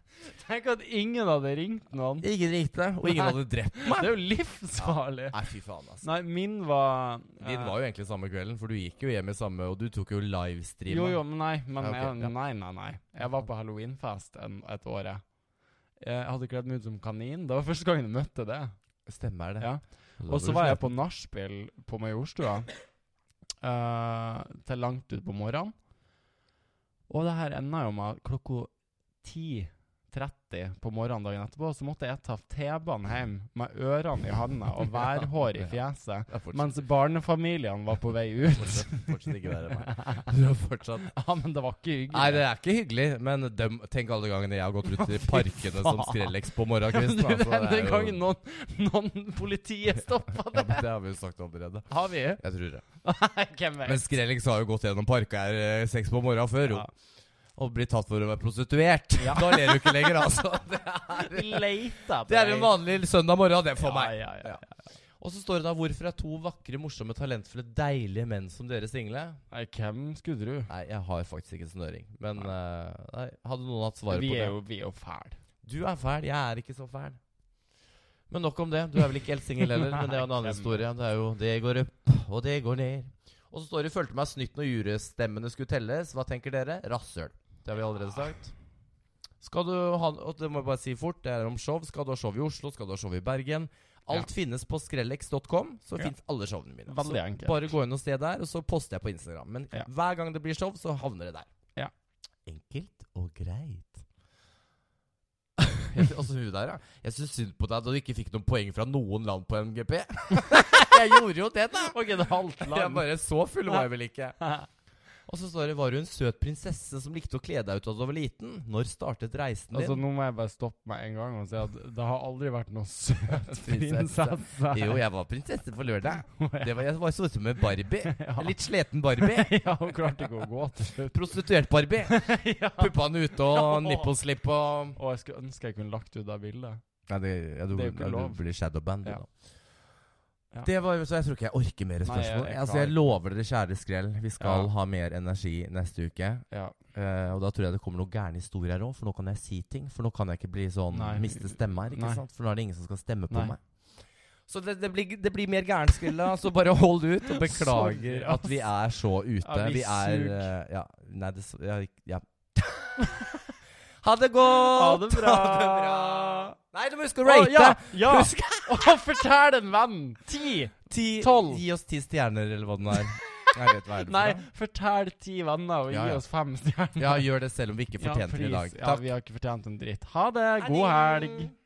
Speaker 1: Tenk at ingen hadde ringt noen.
Speaker 2: Ingen ringte, og ingen hadde drept
Speaker 1: Det
Speaker 2: meg.
Speaker 1: er jo livsfarlig.
Speaker 2: Nei, fy faen, altså.
Speaker 1: Nei, min var eh,
Speaker 2: Din var jo egentlig samme kvelden, for du gikk jo hjem i samme Og du tok jo livestreama.
Speaker 1: Jo, jo, men nei. Men
Speaker 2: Ja, Ah, ok, ja.
Speaker 1: jeg, nei, nei, nei. Jeg var på halloweenfest en, et år, jeg. Jeg hadde kledd meg ut som kanin. Det var første gangen jeg møtte det.
Speaker 2: Stemmer det.
Speaker 1: Ja.
Speaker 2: Da
Speaker 1: Og så
Speaker 2: du
Speaker 1: var jeg
Speaker 2: sliten.
Speaker 1: på nachspiel på Majorstua eh, til langt ut på morgenen. Og det her enda jo med at klokka ti 30 på morgenen dagen etterpå, så måtte jeg ta T-banen hjem med ørene i handa
Speaker 2: [LAUGHS]
Speaker 1: og værhår i fjeset,
Speaker 2: Det er fortsatt,
Speaker 1: mens barnefamiliene var på vei ut.
Speaker 2: [LAUGHS]
Speaker 1: [LAUGHS]
Speaker 2: fortsatt, fortsatt ikke verre enn meg. Du er fortsatt
Speaker 1: Ja, men det var ikke hyggelig.
Speaker 2: Nei, det er ikke hyggelig, men dem, tenk alle gangene jeg har gått rundt i parkene som skrellex på morgenkvisten.
Speaker 1: Du,
Speaker 2: altså, det er
Speaker 1: den
Speaker 2: jo-
Speaker 1: gangen noen, noen politiet stoppa
Speaker 2: ja,
Speaker 1: det.
Speaker 2: men Det har vi jo sagt allerede.
Speaker 1: Har vi?
Speaker 2: Jeg tror det.
Speaker 1: Nei, [LAUGHS] hvem
Speaker 2: Men
Speaker 1: vet?
Speaker 2: Skrellings har jo gått gjennom parker eh, seks på morgenen før, jo.
Speaker 1: Ja.
Speaker 2: Og blitt tatt for å være prostituert.
Speaker 1: Ja.
Speaker 2: [LAUGHS] Da ler du ikke lenger, altså. Det
Speaker 1: Vi leter på
Speaker 2: [LAUGHS] det er en
Speaker 1: deg.
Speaker 2: vanlig søndag morgen, det, for
Speaker 1: Ja,
Speaker 2: meg.
Speaker 1: ja, ja,
Speaker 2: Og så står det da 'Hvorfor er to vakre, morsomme, talentfulle, deilige menn som dere single?'
Speaker 1: Nei, hvem skulle du?
Speaker 2: Nei, jeg har faktisk ikke snøring. Men eh, nei, hadde noen hatt svaret
Speaker 1: Vi
Speaker 2: på det?
Speaker 1: er jo, vi er jo fæl.
Speaker 2: Du er fæl, jeg er ikke så fæl. Men nok om det. Du er vel ikke helt singel heller, men det er en annen
Speaker 1: Nei,
Speaker 2: historie. Det er jo det går opp, og det går ned. Og så står det 'fulgte meg snytt når jurystemmene skulle telles'. Hva tenker dere? Rasshøl. Det har vi allerede sagt. Skal du ha Og det må jeg bare si fort, det er om show. Skal du ha show i Oslo? Skal du ha show i Bergen? Alt finnes på skrellex.com, så
Speaker 1: Ja.
Speaker 2: fins alle showene mine.
Speaker 1: Veldig
Speaker 2: så
Speaker 1: enkelt.
Speaker 2: bare gå inn og se der, og så poster jeg på Instagram. Men
Speaker 1: Ja.
Speaker 2: hver gang det blir show, så havner det der.
Speaker 1: Ja.
Speaker 2: Enkelt og
Speaker 1: [LAUGHS]
Speaker 2: greit. Jeg sy- altså hun der, ja. Jeg syns synd på deg da du ikke fikk noen poeng fra noen land på
Speaker 1: [LAUGHS]
Speaker 2: MGP. jeg gjorde jo det, da!
Speaker 1: Ok, det er halvt
Speaker 2: Jeg
Speaker 1: land.
Speaker 2: bare Så full var jeg vel
Speaker 1: [LAUGHS]
Speaker 2: ikke. Og så står det var du en søt prinsesse som likte å kle deg ut da du var liten. Når startet reisen din?
Speaker 1: Altså, nå må jeg bare stoppe meg en gang og si at det har aldri vært noe søt [LAUGHS] prinsesse. [LAUGHS]
Speaker 2: jo, jeg var prinsesse på lørdag.
Speaker 1: ja.
Speaker 2: Det var, jeg var så ut som en Barbie.
Speaker 1: [LAUGHS]
Speaker 2: En
Speaker 1: ja,
Speaker 2: litt sleten Barbie.
Speaker 1: hun klarte ikke å gå til slutt.
Speaker 2: Prostituert
Speaker 1: [LAUGHS]
Speaker 2: Barbie. Puppene ute og
Speaker 1: Ja.
Speaker 2: nippelslipp og
Speaker 1: Og jeg skulle ønske jeg kunne lagt ut det bildet.
Speaker 2: Nei, det, ja, du,
Speaker 1: Det er jo ikke
Speaker 2: ja,
Speaker 1: lov.
Speaker 2: Du blir shadowband, du,
Speaker 1: Ja.
Speaker 2: da.
Speaker 1: Ja.
Speaker 2: Det var, jo- så jeg tror ikke jeg orker mer spørsmål.
Speaker 1: jeg- jeg
Speaker 2: altså, jeg
Speaker 1: klarer ikke.
Speaker 2: lover dere, kjære Skrell, vi skal
Speaker 1: Ja.
Speaker 2: ha mer energi neste uke.
Speaker 1: Ja.
Speaker 2: Eh, og da tror jeg det kommer noen gærne historier òg, for nå kan jeg si ting. For nå kan jeg ikke bli sånn
Speaker 1: Nei.
Speaker 2: miste stemma her, ikke
Speaker 1: Nei.
Speaker 2: sant? For nå er det ingen som skal stemme på
Speaker 1: Nei.
Speaker 2: meg. Så det, det, blir, det blir mer gærenskrella, så bare hold ut. Og beklager
Speaker 1: Sorry,
Speaker 2: at vi er så ute.
Speaker 1: Ja, vi
Speaker 2: vi, er
Speaker 1: suger.
Speaker 2: eh, Ja. Nei, det ja, ja. [LAUGHS] Ha det godt!
Speaker 1: Ha det bra.
Speaker 2: Ha det bra. Nei, du må huske å
Speaker 1: Å,
Speaker 2: rate!
Speaker 1: ja, ja.
Speaker 2: Husk
Speaker 1: Å, fortell en venn! Ti!
Speaker 2: ti,
Speaker 1: Tolv.
Speaker 2: Gi oss ti stjerner, eller hva den
Speaker 1: [LAUGHS]
Speaker 2: er. Jeg vet hva er det for
Speaker 1: Nei,
Speaker 2: noe.
Speaker 1: fortell ti venner og
Speaker 2: Ja, ja.
Speaker 1: gi oss fem stjerner.
Speaker 2: Ja, gjør det selv om vi ikke
Speaker 1: Ja,
Speaker 2: fortjente det i
Speaker 1: please.
Speaker 2: dag.
Speaker 1: Ja, vi har ikke fortjent en dritt. Ha det! God helg!